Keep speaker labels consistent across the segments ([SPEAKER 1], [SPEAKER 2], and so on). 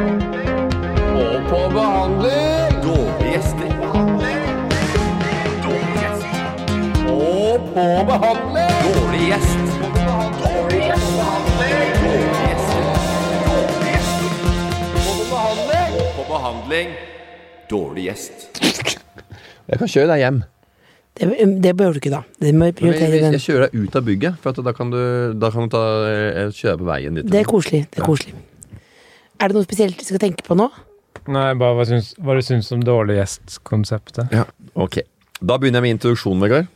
[SPEAKER 1] Og på behandling! Dårlige gjester. Og på behandling! Dårlig gjest. Dårlig gjest. Dårlig gjester. Dårlig gjester. Og på behandling! Og på behandling. Dårlig gjest.
[SPEAKER 2] Jeg kan kjøre deg hjem.
[SPEAKER 3] Det, um, det bør du ikke, da. Det må
[SPEAKER 2] Men jeg,
[SPEAKER 3] prioritere
[SPEAKER 2] jeg,
[SPEAKER 3] den.
[SPEAKER 2] jeg kjører deg ut av bygget, for at da kan du, da kan du ta, jeg kjøre deg på veien dit.
[SPEAKER 3] Det er koselig. Det
[SPEAKER 2] Ja.
[SPEAKER 3] er koselig. Er det noe spesielt du skal tenke på nå?
[SPEAKER 4] Nei, bare hva, syns, hva du syns om dårlig gjest-konseptet.
[SPEAKER 2] Ja, ok. Da begynner jeg med introduksjonen, Vegard.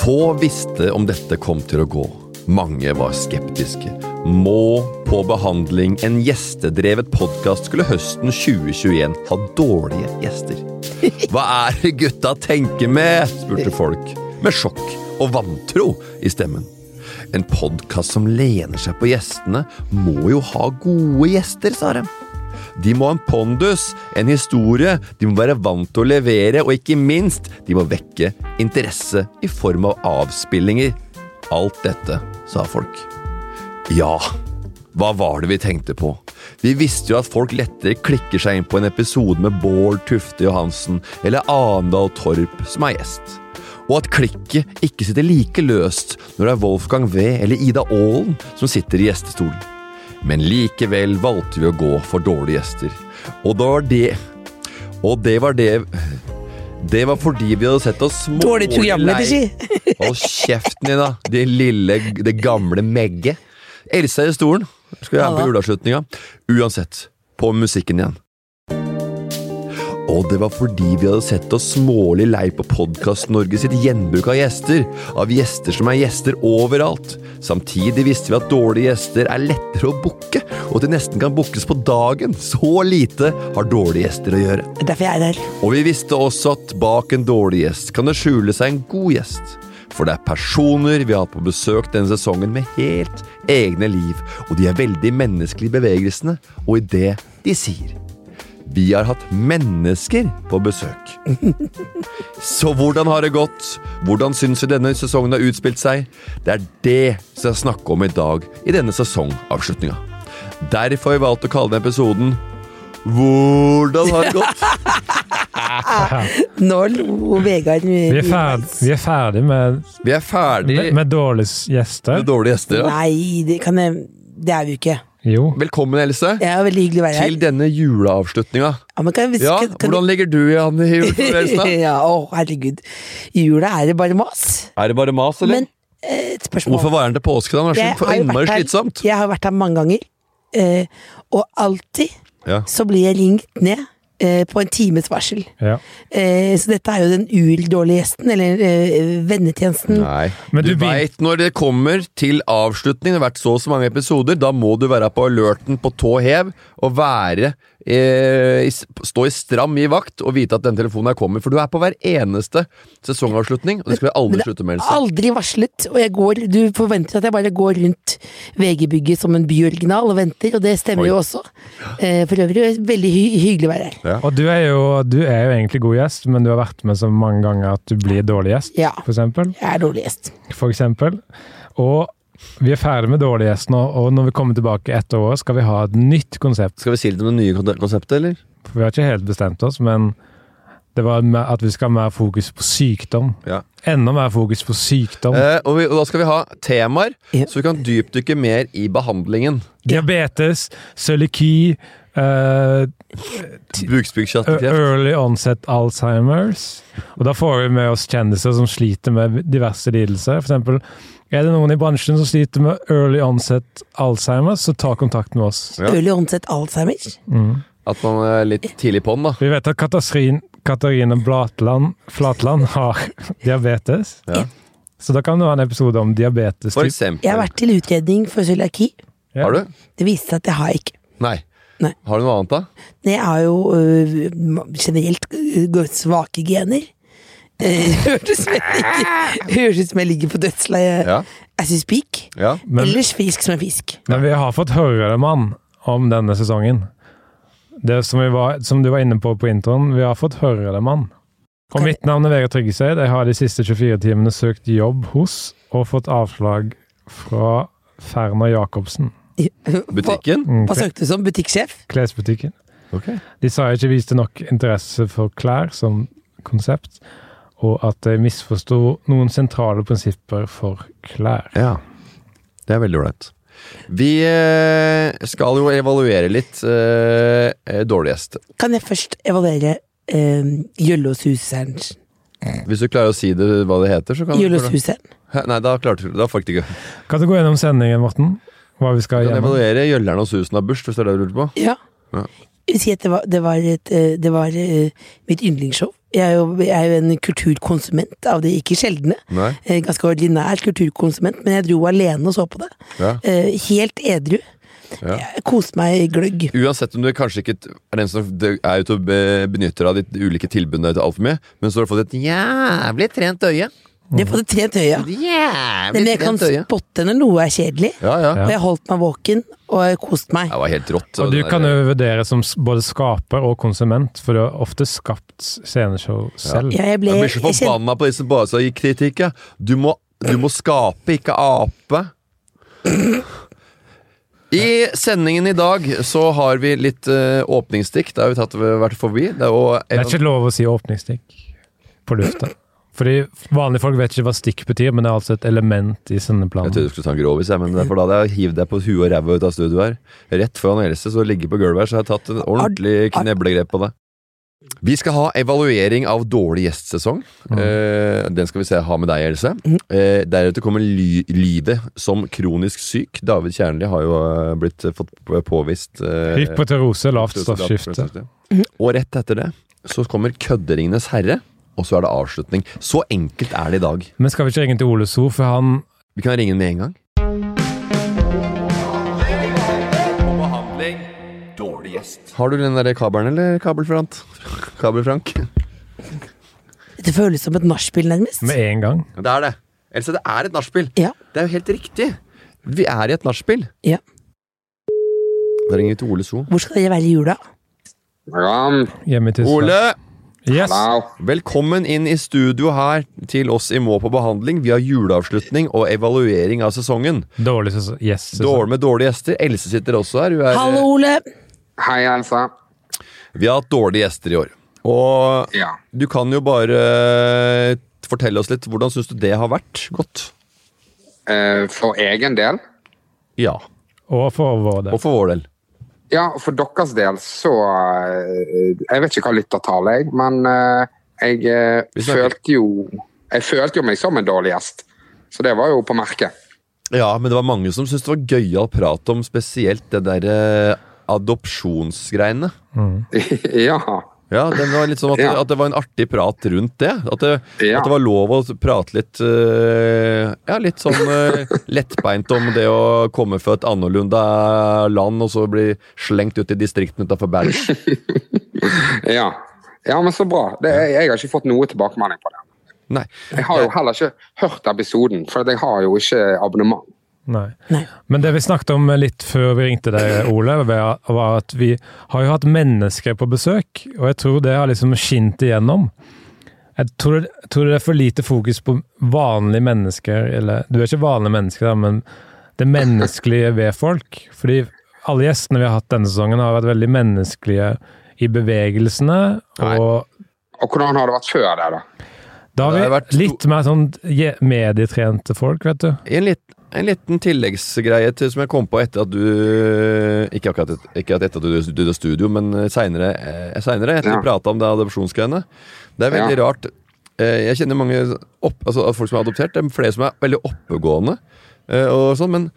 [SPEAKER 2] Få visste om dette kom til å gå. Mange var skeptiske. Må på behandling en gjestedrevet podkast skulle høsten 2021 ha dårlige gjester. Hva er det gutta tenker med? spurte folk, med sjokk og vantro i stemmen. En podkast som lener seg på gjestene, må jo ha gode gjester, sa de. De må ha en pondus, en historie, de må være vant til å levere, og ikke minst, de må vekke interesse i form av avspillinger. Alt dette, sa folk. Ja, hva var det vi tenkte på? Vi visste jo at folk lettere klikker seg inn på en episode med Bård Tufte Johansen eller Arendal Torp som er gjest. Og at klikket ikke sitter like løst når det er Wolfgang V eller Ida Aalen som sitter i gjestestolen. Men likevel valgte vi å gå for dårlige gjester. Og det var det Og det var det Det var fordi vi hadde sett oss små
[SPEAKER 3] Dårlig programleder, si!
[SPEAKER 2] Hold kjeften din, da. Det lille, det gamle megge. Elsa i stolen. Skal være med på juleavslutninga. Uansett, på med musikken igjen. Og det var fordi vi hadde sett oss smålig lei på Podkast-Norge sitt gjenbruk av gjester. Av gjester som er gjester overalt. Samtidig visste vi at dårlige gjester er lettere å booke, og at de nesten kan bookes på dagen. Så lite har dårlige gjester å gjøre.
[SPEAKER 3] Det er derfor jeg er der.
[SPEAKER 2] Og vi visste også at bak en dårlig gjest kan det skjule seg en god gjest. For det er personer vi har hatt på besøk denne sesongen med helt egne liv, og de er veldig menneskelige i bevegelsene og i det de sier. Vi har hatt mennesker på besøk. Så hvordan har det gått? Hvordan syns vi denne sesongen har utspilt seg? Det er det som jeg snakker om i dag i denne sesongavslutninga. Derfor har vi valgt å kalle denne episoden Hvordan har det gått?
[SPEAKER 3] Nå lo Vegard
[SPEAKER 4] Vi er, ferd, vi er ferdig med,
[SPEAKER 2] Vi er ferdig
[SPEAKER 4] med,
[SPEAKER 2] med,
[SPEAKER 4] med dårlige gjester.
[SPEAKER 2] dårlige gjester. Ja.
[SPEAKER 3] Nei, det kan jeg Det er vi jo ikke.
[SPEAKER 4] Jo.
[SPEAKER 2] Velkommen, Else,
[SPEAKER 3] Det er veldig hyggelig å være her.
[SPEAKER 2] til denne juleavslutninga.
[SPEAKER 3] Ja, men kan,
[SPEAKER 2] Ja,
[SPEAKER 3] kan, kan,
[SPEAKER 2] hvordan ligger du an i juleforberedelsene?
[SPEAKER 3] ja, å, herregud. I jula er det bare mas.
[SPEAKER 2] Er det bare mas, eller?
[SPEAKER 3] Men eh, et spørsmål
[SPEAKER 2] Hvorfor var den til påske? da? Det
[SPEAKER 3] Jeg
[SPEAKER 2] er så
[SPEAKER 3] har jo
[SPEAKER 2] innmari
[SPEAKER 3] vært her-
[SPEAKER 2] slitsomt.
[SPEAKER 3] Jeg har vært her mange ganger, eh, og alltid
[SPEAKER 2] Ja.
[SPEAKER 3] så blir jeg ringt ned eh, på en times varsel.
[SPEAKER 4] Ja.
[SPEAKER 3] Eh, så dette er jo den urdårlige gjesten, eller eh, vennetjenesten.
[SPEAKER 2] Nei.
[SPEAKER 4] Men
[SPEAKER 2] du
[SPEAKER 4] du begyn-
[SPEAKER 2] veit når det kommer til avslutning, det har vært så og så mange episoder, da må du være på alerten på tå hev og være eh, i s- Stå i stram i vakt og vite at den telefonen her kommer. For du er på hver eneste sesongavslutning, og det skal vi
[SPEAKER 3] Men
[SPEAKER 2] aldri
[SPEAKER 3] det
[SPEAKER 2] slutte med. Else.
[SPEAKER 3] Aldri varslet, og jeg går, du forventer at jeg bare går rundt VG-bygget som en byoriginal og venter, og det stemmer
[SPEAKER 2] Oi.
[SPEAKER 3] jo også. Eh, for øvrig er det veldig hy hyggelig å være her.
[SPEAKER 4] Og du er, jo, du er jo egentlig god gjest, men du har vært med så mange ganger at du blir dårlig gjest,
[SPEAKER 3] Ja.
[SPEAKER 4] for eksempel.
[SPEAKER 3] Jeg er dårlig gjest.
[SPEAKER 4] for eksempel. Og vi er ferdig med dårlig gjest nå, og når vi kommer tilbake etter året, skal vi ha et nytt konsept.
[SPEAKER 2] Skal vi si litt om det nye kon- konseptet, eller?
[SPEAKER 4] For vi har ikke helt bestemt oss, men det var mer- at vi skal ha mer fokus på sykdom.
[SPEAKER 2] Ja.
[SPEAKER 4] Enda mer fokus på sykdom.
[SPEAKER 2] Eh, og, vi, og da skal vi ha temaer,
[SPEAKER 3] Ja.
[SPEAKER 2] så vi kan dypdykke mer i behandlingen.
[SPEAKER 4] Diabetes, cøliaki, eh, ø-
[SPEAKER 2] Bukspyttkjertelkreft.
[SPEAKER 4] early onset Alzheimers. Og da får vi med oss kjendiser som sliter med diverse lidelser. For eksempel, er det noen i bransjen som sliter med early onset Alzheimers, så ta kontakt med oss.
[SPEAKER 2] Ja.
[SPEAKER 3] Øl i håndsett Alzheimer.
[SPEAKER 2] At man er litt tidlig på'n, da.
[SPEAKER 4] Vi vet at Katasrin, Katarina Blatland, Flatland har diabetes.
[SPEAKER 2] Ja.
[SPEAKER 4] Så da kan det være en episode om diabetes.
[SPEAKER 2] For
[SPEAKER 4] typ.
[SPEAKER 3] Jeg har
[SPEAKER 2] eksempel.
[SPEAKER 3] vært til utredning for cøliaki.
[SPEAKER 4] Ja.
[SPEAKER 2] Har du?
[SPEAKER 3] Det viste seg at jeg har ikke.
[SPEAKER 2] Nei.
[SPEAKER 3] Nei.
[SPEAKER 2] Har du noe annet, da?
[SPEAKER 3] Det er jo øh, generelt øh, svake gener. Eh, Hørtes ut som jeg ligger- høres ut som jeg ligger på dødsleiet.
[SPEAKER 2] Ja.
[SPEAKER 3] Jeg syns pik.
[SPEAKER 2] Ja.
[SPEAKER 4] Men-
[SPEAKER 3] Ellers fisk som en fisk.
[SPEAKER 4] Men vi har fått høre det, mann, om denne sesongen. Det som, vi var, som du var inne på på introen, vi har fått høre det, mann. Og
[SPEAKER 3] Kan-
[SPEAKER 4] mitt navn er Vegard Tryggeseid. Jeg har de siste 24 timene søkt jobb hos og fått avslag fra Ferner Jacobsen.
[SPEAKER 2] Butikken?
[SPEAKER 3] Hva søkte du som? Butikksjef?
[SPEAKER 4] Klesbutikken.
[SPEAKER 2] Ok.
[SPEAKER 4] De sa jeg ikke viste nok interesse for klær som konsept, og at jeg misforsto noen sentrale prinsipper for klær.
[SPEAKER 2] Ja. Det er veldig ålreit. Vi eh, skal jo evaluere litt eh, eh, dårlig gjest.
[SPEAKER 3] Kan jeg først evaluere eh, Jøllåshuserens
[SPEAKER 2] Hvis du klarer å si det hva det heter, så kan du
[SPEAKER 3] Jøllåshuseren?
[SPEAKER 2] Hæ? Nei, da klarte du da fikk du ikke.
[SPEAKER 4] Kan du gå gjennom sendingen, Morten? Hva vi skal
[SPEAKER 2] Kan jeg
[SPEAKER 4] gjennom?
[SPEAKER 2] evaluere Gjølleren og Susan har bursdag, hvis det er det du lurte på?
[SPEAKER 3] Ja.
[SPEAKER 2] Ja.
[SPEAKER 3] Jeg vil si at det var, det var, et, eh, det var eh, mitt yndlingsshow. Jeg er, jo, jeg er jo en kulturkonsument av det ikke sjeldne.
[SPEAKER 2] Nei?
[SPEAKER 3] Eh, Ganske ordinær kulturkonsument, men jeg dro alene og så på det.
[SPEAKER 2] Ja.
[SPEAKER 3] Eh, Helt edru.
[SPEAKER 2] Ja.
[SPEAKER 3] Jeg koste meg gløgg.
[SPEAKER 2] Uansett om du kanskje ikke er den som er ute og be- benytter deg av de ulike tilbudene til altfor mye, men så har du fått et jævlig trent øye.
[SPEAKER 3] Det er på det trent øya.
[SPEAKER 2] Et
[SPEAKER 3] Men
[SPEAKER 2] Jævlig
[SPEAKER 3] jeg kan
[SPEAKER 2] trent øye.
[SPEAKER 3] spotte når noe er kjedelig.
[SPEAKER 2] Ja, ja.
[SPEAKER 4] Ja.
[SPEAKER 3] Og jeg holdt meg våken og koste meg.
[SPEAKER 2] Det var helt rått.
[SPEAKER 4] Og du
[SPEAKER 2] Det der-
[SPEAKER 4] kan jo vurdere som s- både skaper og konsument, for du har ofte skapt sceneshow selv.
[SPEAKER 3] Ja, jeg ble,
[SPEAKER 2] Jeg blir så
[SPEAKER 3] jeg kjente,
[SPEAKER 2] forbanna på de som bare skal gi kritikk. Ja. Du, må, du må skape, ikke ape. I sendingen i dag så har vi litt eh, åpningsstikk. Det har vi tatt, vært forbi. Det er, jo-
[SPEAKER 4] Det er ikke lov å si åpningsstikk på lufta. Fordi vanlige folk vet ikke hva stikk betyr, men det er altså et element i
[SPEAKER 2] jeg trodde
[SPEAKER 4] sendeplanen.
[SPEAKER 2] du skulle ta en grovis, jeg, men det er for da hadde jeg hivd deg på huet og ræva ut av studioet her. Rett før han Else så ligger på gulvet her, så har jeg tatt en ordentlig
[SPEAKER 3] Ar- ar-
[SPEAKER 2] kneblegrep på det. Vi skal ha evaluering av dårlig gjestsesong. Eh, den skal vi se ha med deg, Else. Eh, deretter kommer ly lydet som kronisk syk. David Kjernli har jo eh, blitt eh, fått p- påvist eh,
[SPEAKER 4] Hypoterose, lavt stoffskifte.
[SPEAKER 2] Og rett etter det så kommer Kødderingenes herre, og så er det avslutning. Så enkelt er det i dag.
[SPEAKER 4] Men skal vi ikke ringe til Ole So, for han
[SPEAKER 2] Vi kan ringe den med en gang. Har du den der kabelen, eller kabelfrank? Kabelfrank?
[SPEAKER 3] det føles som et nachspiel, nærmest.
[SPEAKER 4] med en gang
[SPEAKER 2] Det er det. Else, det er et nachspiel.
[SPEAKER 3] Ja,
[SPEAKER 2] Det er jo helt riktig. Vi er i et nachspiel.
[SPEAKER 3] ja.
[SPEAKER 2] Da ringer vi til Ole So.
[SPEAKER 3] Hvor skal dere være i jula?
[SPEAKER 1] Ram,
[SPEAKER 4] hjemme i Tyskland.
[SPEAKER 2] Ole!
[SPEAKER 4] Yes!
[SPEAKER 1] lau.
[SPEAKER 2] Velkommen inn i studio her til oss i Må på behandling. Vi har juleavslutning og evaluering av sesongen.
[SPEAKER 4] Dårlig sesong. Yes. sesong.
[SPEAKER 2] Dårlig med dårlige gjester. Else sitter også her. Hun er,
[SPEAKER 3] Hallo, Ole!
[SPEAKER 1] Hei, Elsa.
[SPEAKER 2] Vi har hatt dårlige gjester i år. Og
[SPEAKER 1] Ja.
[SPEAKER 2] du kan jo bare eh, fortelle oss litt. Hvordan syns du det har vært? Godt.
[SPEAKER 1] Eh, for egen del.
[SPEAKER 2] Ja.
[SPEAKER 4] Og for vår del.
[SPEAKER 2] Og for vår del.
[SPEAKER 1] Ja, for deres del så eh, Jeg vet ikke hva lyttertall er, men eh, jeg eh,
[SPEAKER 2] Vi snakker-
[SPEAKER 1] følte jo Jeg følte jo meg som en dårlig gjest. Så det var jo på merket.
[SPEAKER 2] Ja, men det var mange som syntes det var gøyal prat om spesielt det derre adopsjonsgreiene.
[SPEAKER 1] ja.
[SPEAKER 2] Ja, den var litt sånn at,
[SPEAKER 1] Ja.
[SPEAKER 2] at det var en artig prat rundt det. At det,
[SPEAKER 1] Ja.
[SPEAKER 2] at det var lov å prate litt eh, Ja, litt sånn eh, lettbeint om det å komme fra et annerledes land og så bli slengt ut i distriktene utafor Bergen.
[SPEAKER 1] ja. Ja, men så bra. Det, jeg, jeg har ikke fått noe tilbakemelding på det.
[SPEAKER 2] Nei.
[SPEAKER 1] Jeg har jo heller ikke hørt episoden, for jeg har jo ikke abonnement.
[SPEAKER 4] Nei.
[SPEAKER 3] Nei.
[SPEAKER 4] Men det vi snakket om litt før vi ringte deg, Ole, var var at vi har jo hatt mennesker på besøk, og jeg tror det har liksom skint igjennom. Jeg tror, jeg tror det er for lite fokus på vanlige mennesker, eller Du er ikke vanlige mennesker, da, men det menneskelige ved folk. Fordi alle gjestene vi har hatt denne sesongen, har vært veldig menneskelige i bevegelsene. Og
[SPEAKER 1] Og hvordan har det vært før det, da?
[SPEAKER 4] da
[SPEAKER 2] Det
[SPEAKER 4] har vi
[SPEAKER 2] har vært sto-
[SPEAKER 4] litt mer sånn je- medietrente folk, vet du.
[SPEAKER 2] En, litt, en liten tilleggsgreie til, som jeg kom på etter at du Ikke akkurat et, ikke at etter at du døde studio, men eh, seinere, etter vi
[SPEAKER 1] Ja.
[SPEAKER 2] prata om det adopsjonsgreiene. Det er veldig
[SPEAKER 1] Ja.
[SPEAKER 2] rart. Eh, Jeg kjenner mange opp, altså av folk som er adoptert. Det er flere som er veldig oppegående. eh, Og sånn, men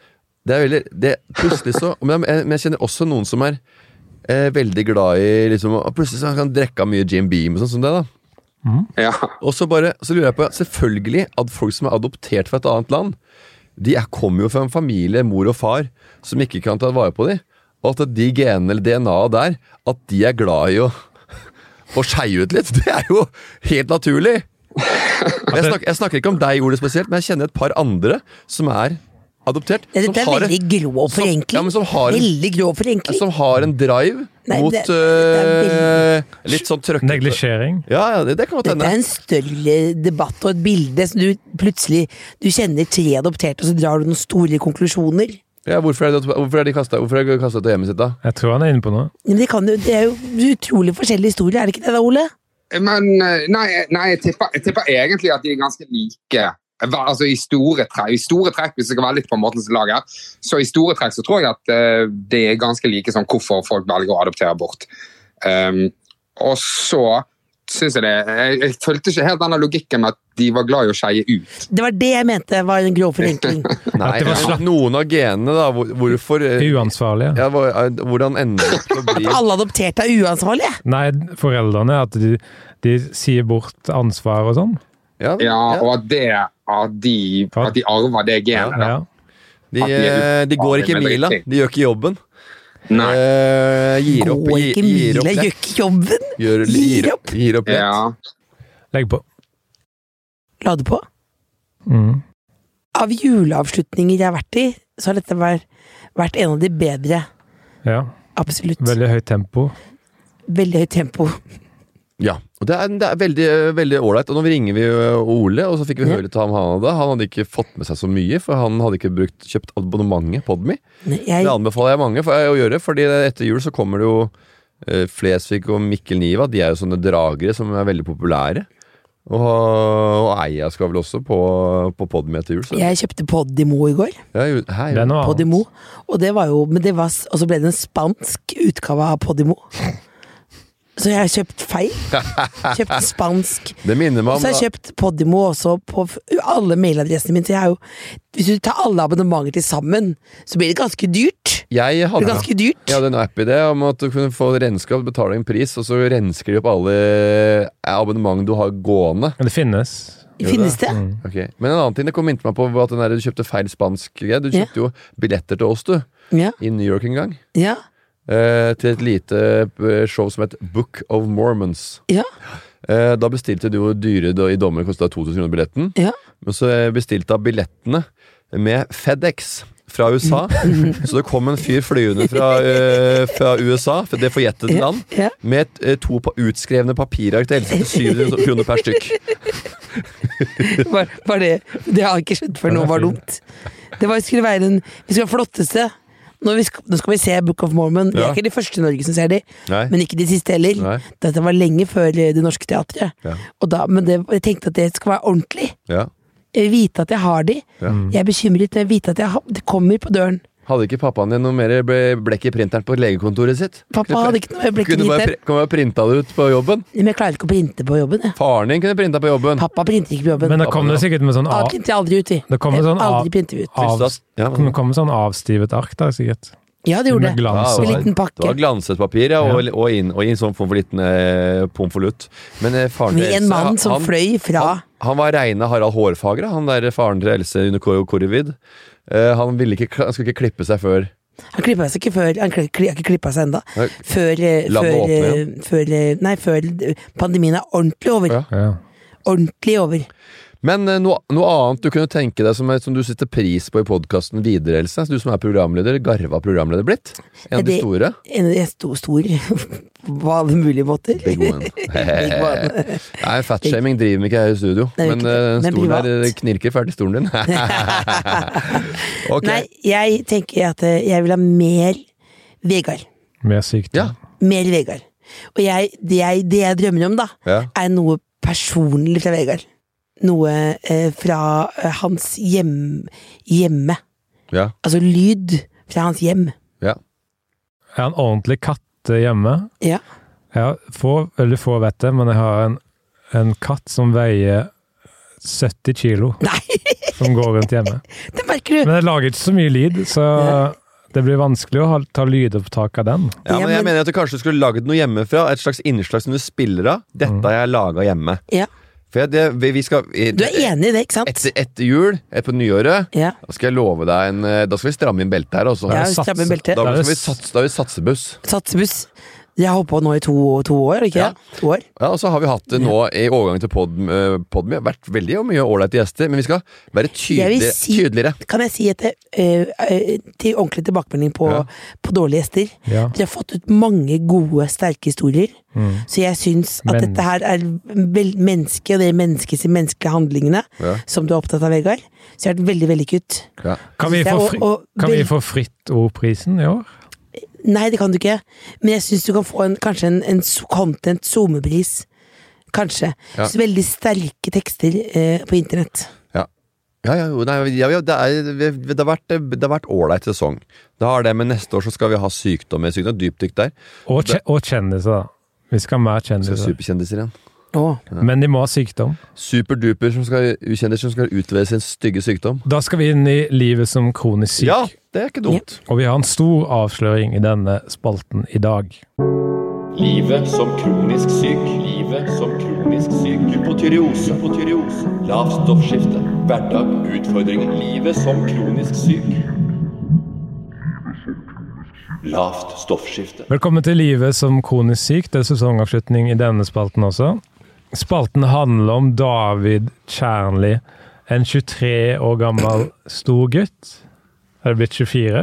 [SPEAKER 2] det er veldig det, Plutselig så men jeg, men jeg kjenner også noen som er eh, veldig glad i liksom, og Plutselig så kan han drikke av mye Jim Beam og sånn som det. da
[SPEAKER 1] Ja.
[SPEAKER 2] og så bare, så lurer jeg på, selvfølgelig at folk som er adoptert fra et annet land, de er, kommer jo fra en familie, mor og far, som ikke kan ta vare på dem. Og at de genene eller DNA-et der, at de er glad i å, å skeie ut litt, det er jo helt naturlig. Jeg snakker, jeg snakker ikke om deg, Ole, spesielt, men jeg kjenner et par andre som er adoptert.
[SPEAKER 3] Ja,
[SPEAKER 2] som
[SPEAKER 3] Dette er
[SPEAKER 2] har
[SPEAKER 3] veldig
[SPEAKER 2] en-
[SPEAKER 3] grov
[SPEAKER 2] som-
[SPEAKER 3] forenkling.
[SPEAKER 2] Ja, men som har en
[SPEAKER 3] Veldig grov forenkling.
[SPEAKER 2] som har en drive
[SPEAKER 3] Nei,
[SPEAKER 2] mot
[SPEAKER 3] det- det er
[SPEAKER 2] eh, litt sånn trøkkete
[SPEAKER 4] Neglisjering.
[SPEAKER 2] Ja, ja, det, det kan godt
[SPEAKER 3] Dette
[SPEAKER 2] hende.
[SPEAKER 3] er en større debatt og et bilde som du plutselig Du kjenner tre adopterte, og så drar du noen store konklusjoner.
[SPEAKER 2] Ja, hvorfor er det- hvorfor er de kastet- hvorfor er de kasta ut av hjemmet sitt, da?
[SPEAKER 4] Jeg tror han er inne på noe.
[SPEAKER 3] Men det, kan, jo- det er jo utrolig forskjellige historier, er det ikke det da, Ole?
[SPEAKER 1] Men eh, nei, nei jeg, tipper, jeg tipper egentlig at de er ganske like. Hva- Altså I store trekk, i store trekk hvis jeg skal være litt på måten som lager, så i store trekk så tror jeg at eh, det er ganske like sånn hvorfor folk velger å adoptere bort. Um, og så syns jeg det jeg, jeg følte ikke helt denne logikken med at de var glad i å skeie ut.
[SPEAKER 3] Det var det jeg mente var en grov forenkling.
[SPEAKER 2] Nei,
[SPEAKER 4] det var slapp-
[SPEAKER 2] Noen av genene, da. hvor- Hvorfor eh,
[SPEAKER 4] Uansvarlige.
[SPEAKER 2] ja, hvor- eh, Hvordan ender det opp å bli
[SPEAKER 3] Alle adopterte er uansvarlige!
[SPEAKER 4] Nei, foreldrene. At de, de sier bort ansvar og sånn.
[SPEAKER 2] Ja,
[SPEAKER 1] Ja,
[SPEAKER 2] ja.
[SPEAKER 1] Og at, det, at, de, at de arver det genet. da.
[SPEAKER 4] Ja.
[SPEAKER 2] De, eh, de går ikke mila. De gjør ikke jobben.
[SPEAKER 1] Nei.
[SPEAKER 2] Eh, gir opp.
[SPEAKER 3] Går
[SPEAKER 2] gi-
[SPEAKER 3] ikke
[SPEAKER 2] Gir opp.
[SPEAKER 3] mila,
[SPEAKER 2] lett.
[SPEAKER 3] gjør ikke jobben!
[SPEAKER 2] Gjør,
[SPEAKER 3] Gir
[SPEAKER 2] gir opp. Gir opp lett.
[SPEAKER 1] Eh, Ja.
[SPEAKER 4] Legg på.
[SPEAKER 3] La du på?
[SPEAKER 4] Mm.
[SPEAKER 3] Av juleavslutninger jeg har vært i, så har dette vært, vært en av de bedre.
[SPEAKER 4] Ja.
[SPEAKER 3] Absolutt. Veldig,
[SPEAKER 4] Veldig høyt tempo.
[SPEAKER 3] høyt tempo.
[SPEAKER 2] Ja, og det er, det er veldig veldig ålreit. Og nå ringer vi jo Ole, og så fikk vi
[SPEAKER 3] Ja.
[SPEAKER 2] høre litt om han hadde. Han hadde ikke fått med seg så mye, for han hadde ikke brukt, kjøpt abonnementet Podme.
[SPEAKER 3] Jeg,
[SPEAKER 2] Det anbefaler jeg mange for, eh, å gjøre, fordi etter jul så kommer det jo eh, Flesvig og Mikkel Niva. De er jo sånne dragere som er veldig populære. Og, og Eia skal vel også på, på Podme etter jul. Så.
[SPEAKER 3] jeg kjøpte Podimo i går.
[SPEAKER 2] Ja, jo- hei,
[SPEAKER 4] Det er
[SPEAKER 3] Ah.
[SPEAKER 4] noe annet.
[SPEAKER 3] Podimo. Og det var jo Men det var s- Og så ble det en spansk utgave av Podimo. Så jeg har kjøpt feil. Kjøpt spansk.
[SPEAKER 2] det minner meg
[SPEAKER 3] Og
[SPEAKER 2] om
[SPEAKER 3] så har jeg kjøpt Podimo også på f- alle mailadressene mine. Så jeg er jo Hvis du tar alle abonnementer til sammen, så blir det ganske dyrt.
[SPEAKER 2] jeg
[SPEAKER 3] Det
[SPEAKER 2] hadde,
[SPEAKER 3] blir ganske dyrt.
[SPEAKER 2] jeg hadde en app-idé om at du kunne få renskap, betale en pris, og så rensker de opp alle eh, abonnement du har gående.
[SPEAKER 4] Men det finnes.
[SPEAKER 3] Finnes det?
[SPEAKER 2] Ok, Men en annen ting det kom inntil meg på var at den der, du kjøpte feil spansk greie. Du
[SPEAKER 3] Ja.
[SPEAKER 2] kjøpte jo billetter til oss, du.
[SPEAKER 3] Ja.
[SPEAKER 2] I New York en gang.
[SPEAKER 3] Ja.
[SPEAKER 2] Eh, til et lite eh, show som het Book of Mormons.
[SPEAKER 3] Ja.
[SPEAKER 2] Eh, da bestilte du jo dyre da, i dommer, kosta 2000 kroner billetten.
[SPEAKER 3] ja.
[SPEAKER 2] Men så eh, bestilte jeg billettene med FedEx fra USA. Så det kom en fyr flyvende fra, eh, fra USA, for det forjettede
[SPEAKER 3] Ja,
[SPEAKER 2] land,
[SPEAKER 3] ja.
[SPEAKER 2] med eh, to pa utskrevne papirark til 700 kroner per stykk.
[SPEAKER 3] Var, var det Det har jeg ikke skjønt før nå var dumt. Det var, skulle være en Vi skulle ha flotteste. Nå, vi skal, nå skal vi se Book of Mormon. Vi
[SPEAKER 2] Ja.
[SPEAKER 3] er ikke de første i Norge som ser de,
[SPEAKER 2] Nei.
[SPEAKER 3] men ikke de siste heller.
[SPEAKER 2] Nei.
[SPEAKER 3] Dette var lenge før eh, Det Norske Teatret.
[SPEAKER 2] Ja.
[SPEAKER 3] Og da, men det, jeg tenkte at det skal være ordentlig.
[SPEAKER 2] Ja.
[SPEAKER 3] Jeg vil vite at jeg har de. Jeg er bekymret når jeg vet at jeg har, det kommer på døren.
[SPEAKER 2] Hadde ikke pappaen din noe mer ble- blekk i printeren på legekontoret sitt?
[SPEAKER 3] Pappa hadde ikke noe blekk i
[SPEAKER 2] Kunne bare
[SPEAKER 3] printeren.
[SPEAKER 2] pri- Kunne bare printa det ut på jobben.
[SPEAKER 3] Men jeg klarer ikke å printe på jobben. Jeg.
[SPEAKER 2] Faren din kunne printa på jobben.
[SPEAKER 3] Pappa printer ikke på jobben.
[SPEAKER 4] Men det kom det sikkert med sånn
[SPEAKER 3] Da
[SPEAKER 4] av,
[SPEAKER 3] printer jeg aldri ut, vi.
[SPEAKER 4] Det kommer sånn av-
[SPEAKER 3] aldri printer vi ut.
[SPEAKER 4] av,
[SPEAKER 2] Trist, ass. Ja.
[SPEAKER 4] det kom sånn avstivet ark der, sikkert.
[SPEAKER 3] Ja, det gjorde
[SPEAKER 4] Med
[SPEAKER 3] det.
[SPEAKER 4] glans
[SPEAKER 2] Ja,
[SPEAKER 4] og
[SPEAKER 3] En liten
[SPEAKER 2] Ah, Det var
[SPEAKER 3] pakke.
[SPEAKER 2] glanset papir, ja, og, og inn og i en sånn form for liten eh, pomfolutt. Men eh, faren til
[SPEAKER 3] Med en
[SPEAKER 2] Else,
[SPEAKER 3] mann som
[SPEAKER 2] han-
[SPEAKER 3] fløy fra
[SPEAKER 2] Han, han var reine Harald Hårfagre, han der faren til Else under Kor- Korvid. Eh, han, ville ikke, kla- han skulle ikke klippe seg før
[SPEAKER 3] Han klippa seg ikke før Han kli- kli- har ikke klippa seg ennå.
[SPEAKER 2] Nei.
[SPEAKER 3] Før, eh,
[SPEAKER 2] Landet
[SPEAKER 3] før,
[SPEAKER 2] åpner
[SPEAKER 3] eh, før eh, Nei, før eh, pandemien er ordentlig over.
[SPEAKER 2] Ja.
[SPEAKER 4] Ja.
[SPEAKER 3] Ordentlig over.
[SPEAKER 2] Men eh, noe, noe annet du kunne tenke deg som, er- som du setter pris på i podkasten videre, Else? Du som er programleder, garva programleder blitt? En av de
[SPEAKER 3] Det-
[SPEAKER 2] store?
[SPEAKER 3] En av de sto, stor på alle mulige måter.
[SPEAKER 2] Big one.
[SPEAKER 3] one.
[SPEAKER 2] Nei, fatshaming driver vi ikke her i studio.
[SPEAKER 3] Nei, vi
[SPEAKER 2] men
[SPEAKER 3] ikke det.
[SPEAKER 2] eh, den
[SPEAKER 3] Men
[SPEAKER 2] stolen her
[SPEAKER 3] privat.
[SPEAKER 2] knirker ferdig stolen din. ok.
[SPEAKER 3] Nei, jeg tenker at eh, jeg vil ha mer Vegard.
[SPEAKER 4] Mer sykt.
[SPEAKER 2] Ja.
[SPEAKER 3] Mer Vegard. Og jeg, det, jeg, det jeg drømmer om, da,
[SPEAKER 2] Ja.
[SPEAKER 3] er noe personlig fra Vegard. Noe eh, fra eh, hans hjem, hjemme.
[SPEAKER 2] Ja.
[SPEAKER 3] Altså lyd fra hans hjem.
[SPEAKER 2] ja.
[SPEAKER 4] Er han ordentlig katte hjemme?
[SPEAKER 3] Ja.
[SPEAKER 4] Ja, få, veldig få vet det, men jeg har en, en katt som veier 70 kilo,
[SPEAKER 3] Nei,
[SPEAKER 4] som går rundt hjemme.
[SPEAKER 3] det merker du!
[SPEAKER 4] Men jeg lager ikke så mye lyd, så det blir vanskelig å ha, ta lydopptak av den.
[SPEAKER 2] Ja, men jeg
[SPEAKER 3] men-
[SPEAKER 2] mener at du kanskje skulle laget noe hjemmefra. Et slags innslag som du spiller av. Dette har jeg laga hjemme.
[SPEAKER 3] Ja.
[SPEAKER 2] For jeg, det, vi, vi skal
[SPEAKER 3] Du er enig i det, ikke sant?
[SPEAKER 2] Etter, etter jul, eh, på nyåret,
[SPEAKER 3] Ja.
[SPEAKER 2] da skal jeg love deg en eh, Da skal vi stramme inn beltet her, altså.
[SPEAKER 3] Ja,
[SPEAKER 4] satser-
[SPEAKER 3] stramme beltet.
[SPEAKER 2] Da
[SPEAKER 4] er
[SPEAKER 2] skal
[SPEAKER 4] det
[SPEAKER 2] vi satse, da er vi satsebuss.
[SPEAKER 3] Satsebuss. Jeg har holdt på nå i to, to år, ikke
[SPEAKER 2] Ja.
[SPEAKER 3] det? To år.
[SPEAKER 2] Ja, og så har vi hatt det nå i overgangen til pod, eh, Podmy. Vært veldig mye ålreite gjester, men vi skal være
[SPEAKER 3] Jeg vil
[SPEAKER 2] tydelig,
[SPEAKER 3] si-
[SPEAKER 2] tydeligere.
[SPEAKER 3] Kan jeg si at det, eh, eh, til ordentlig tilbakemelding på,
[SPEAKER 2] Ja.
[SPEAKER 3] på dårlige gjester?
[SPEAKER 4] Ja.
[SPEAKER 3] Vi har fått ut mange gode, sterke historier.
[SPEAKER 2] Mm.
[SPEAKER 3] Så jeg syns at
[SPEAKER 4] Men-
[SPEAKER 3] dette her er vel, menneske, og det er menneskets menneskelige handlingene,
[SPEAKER 2] Ja.
[SPEAKER 3] som du er opptatt av, Vegard. Så jeg har vært veldig vellykket.
[SPEAKER 2] Ja.
[SPEAKER 4] Kan vi
[SPEAKER 3] Det er
[SPEAKER 4] få,
[SPEAKER 3] å-
[SPEAKER 4] fri,
[SPEAKER 3] å-
[SPEAKER 4] kan vi
[SPEAKER 3] vel-
[SPEAKER 4] få Fritt Ord-prisen i år?
[SPEAKER 3] Nei, det kan du ikke. Men jeg syns du kan få en, kanskje en, en so- content SoMe-pris. Kanskje.
[SPEAKER 2] Ja.
[SPEAKER 3] Så veldig sterke tekster eh, på internett.
[SPEAKER 2] Ja, ja, jo, nei, ja, ja, det, er, vi- vi- det har vært det har vært ålreit sesong. Det har det, men neste år så skal vi ha sykdom med sykdom. Dypdykk der.
[SPEAKER 4] Og, kje, og kjendiser, da. Vi skal ha mer
[SPEAKER 2] Så
[SPEAKER 4] kjendiser.
[SPEAKER 2] Superkjendiser igjen.
[SPEAKER 3] Å.
[SPEAKER 4] Men de må ha sykdom.
[SPEAKER 2] Superduper som skal, ukjendiser som skal utlevere sin stygge sykdom.
[SPEAKER 4] Da skal vi inn i livet som kronisk syk.
[SPEAKER 2] Ja, det er ikke dumt.
[SPEAKER 4] Og vi har en stor avsløring i denne spalten i dag.
[SPEAKER 5] Livet som kronisk syk. Livet som kronisk syk. Hypotyreose. Hypotyreose. Lavt stoffskifte. Hverdag. Utfordringer. Livet som kronisk syk. Lavt stoffskifte.
[SPEAKER 4] Velkommen til Livet som kronisk syk. Det er sesongavslutning i denne spalten også. Spalten handler om David Kjernli, en 23 år gammel stor gutt. Er det blitt 24?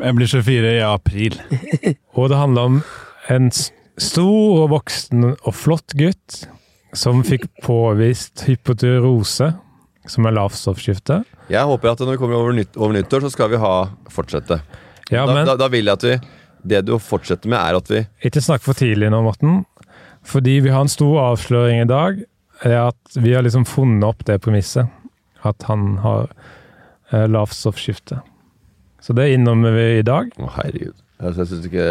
[SPEAKER 6] Jeg blir 24 i april.
[SPEAKER 4] Og det handler om en s- stor og voksen og flott gutt som fikk påvist hypotyreose, som er lavstoffskifte.
[SPEAKER 2] Jeg håper at når vi kommer over, nytt, over nyttår, så skal vi ha fortsette. da,
[SPEAKER 4] Ja,
[SPEAKER 2] da,
[SPEAKER 4] men
[SPEAKER 2] da vil jeg at vi Det du fortsetter med, er at vi
[SPEAKER 4] ikke snakk for tidlig nå, Morten. Fordi vi har en stor avsløring i dag. er at Vi har liksom funnet opp det premisset. At han har eh, lavstoffskifte. Så det innrømmer vi i dag.
[SPEAKER 2] Å, herregud. Altså, jeg syns ikke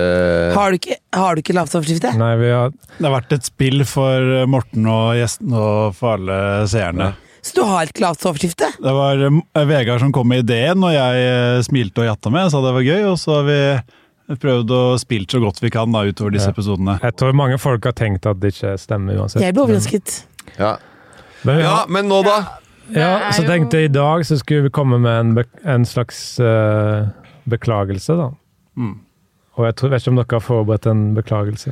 [SPEAKER 3] Har du ikke, har du ikke lavstoffskifte?
[SPEAKER 4] Nei, vi har
[SPEAKER 6] Det har vært et spill for Morten og gjestene og for alle seerne.
[SPEAKER 3] Så du har ikke lavstoffskifte?
[SPEAKER 6] Det var eh, Vegard som kom med ideen, og jeg eh, smilte og jatta med. Sa det var gøy, og så har vi prøvd å spille så godt vi kan da, utover disse
[SPEAKER 4] Ja.
[SPEAKER 6] episodene.
[SPEAKER 4] Jeg tror mange folk har tenkt at det ikke stemmer uansett.
[SPEAKER 3] Jeg ble overrasket.
[SPEAKER 2] Ja.
[SPEAKER 4] Men vi har,
[SPEAKER 2] ja, men nå, da?
[SPEAKER 4] Ja, så tenkte jeg i dag så skulle vi komme med en, bek- en slags eh, beklagelse, da. Og jeg tror, vet ikke om dere har forberedt en beklagelse.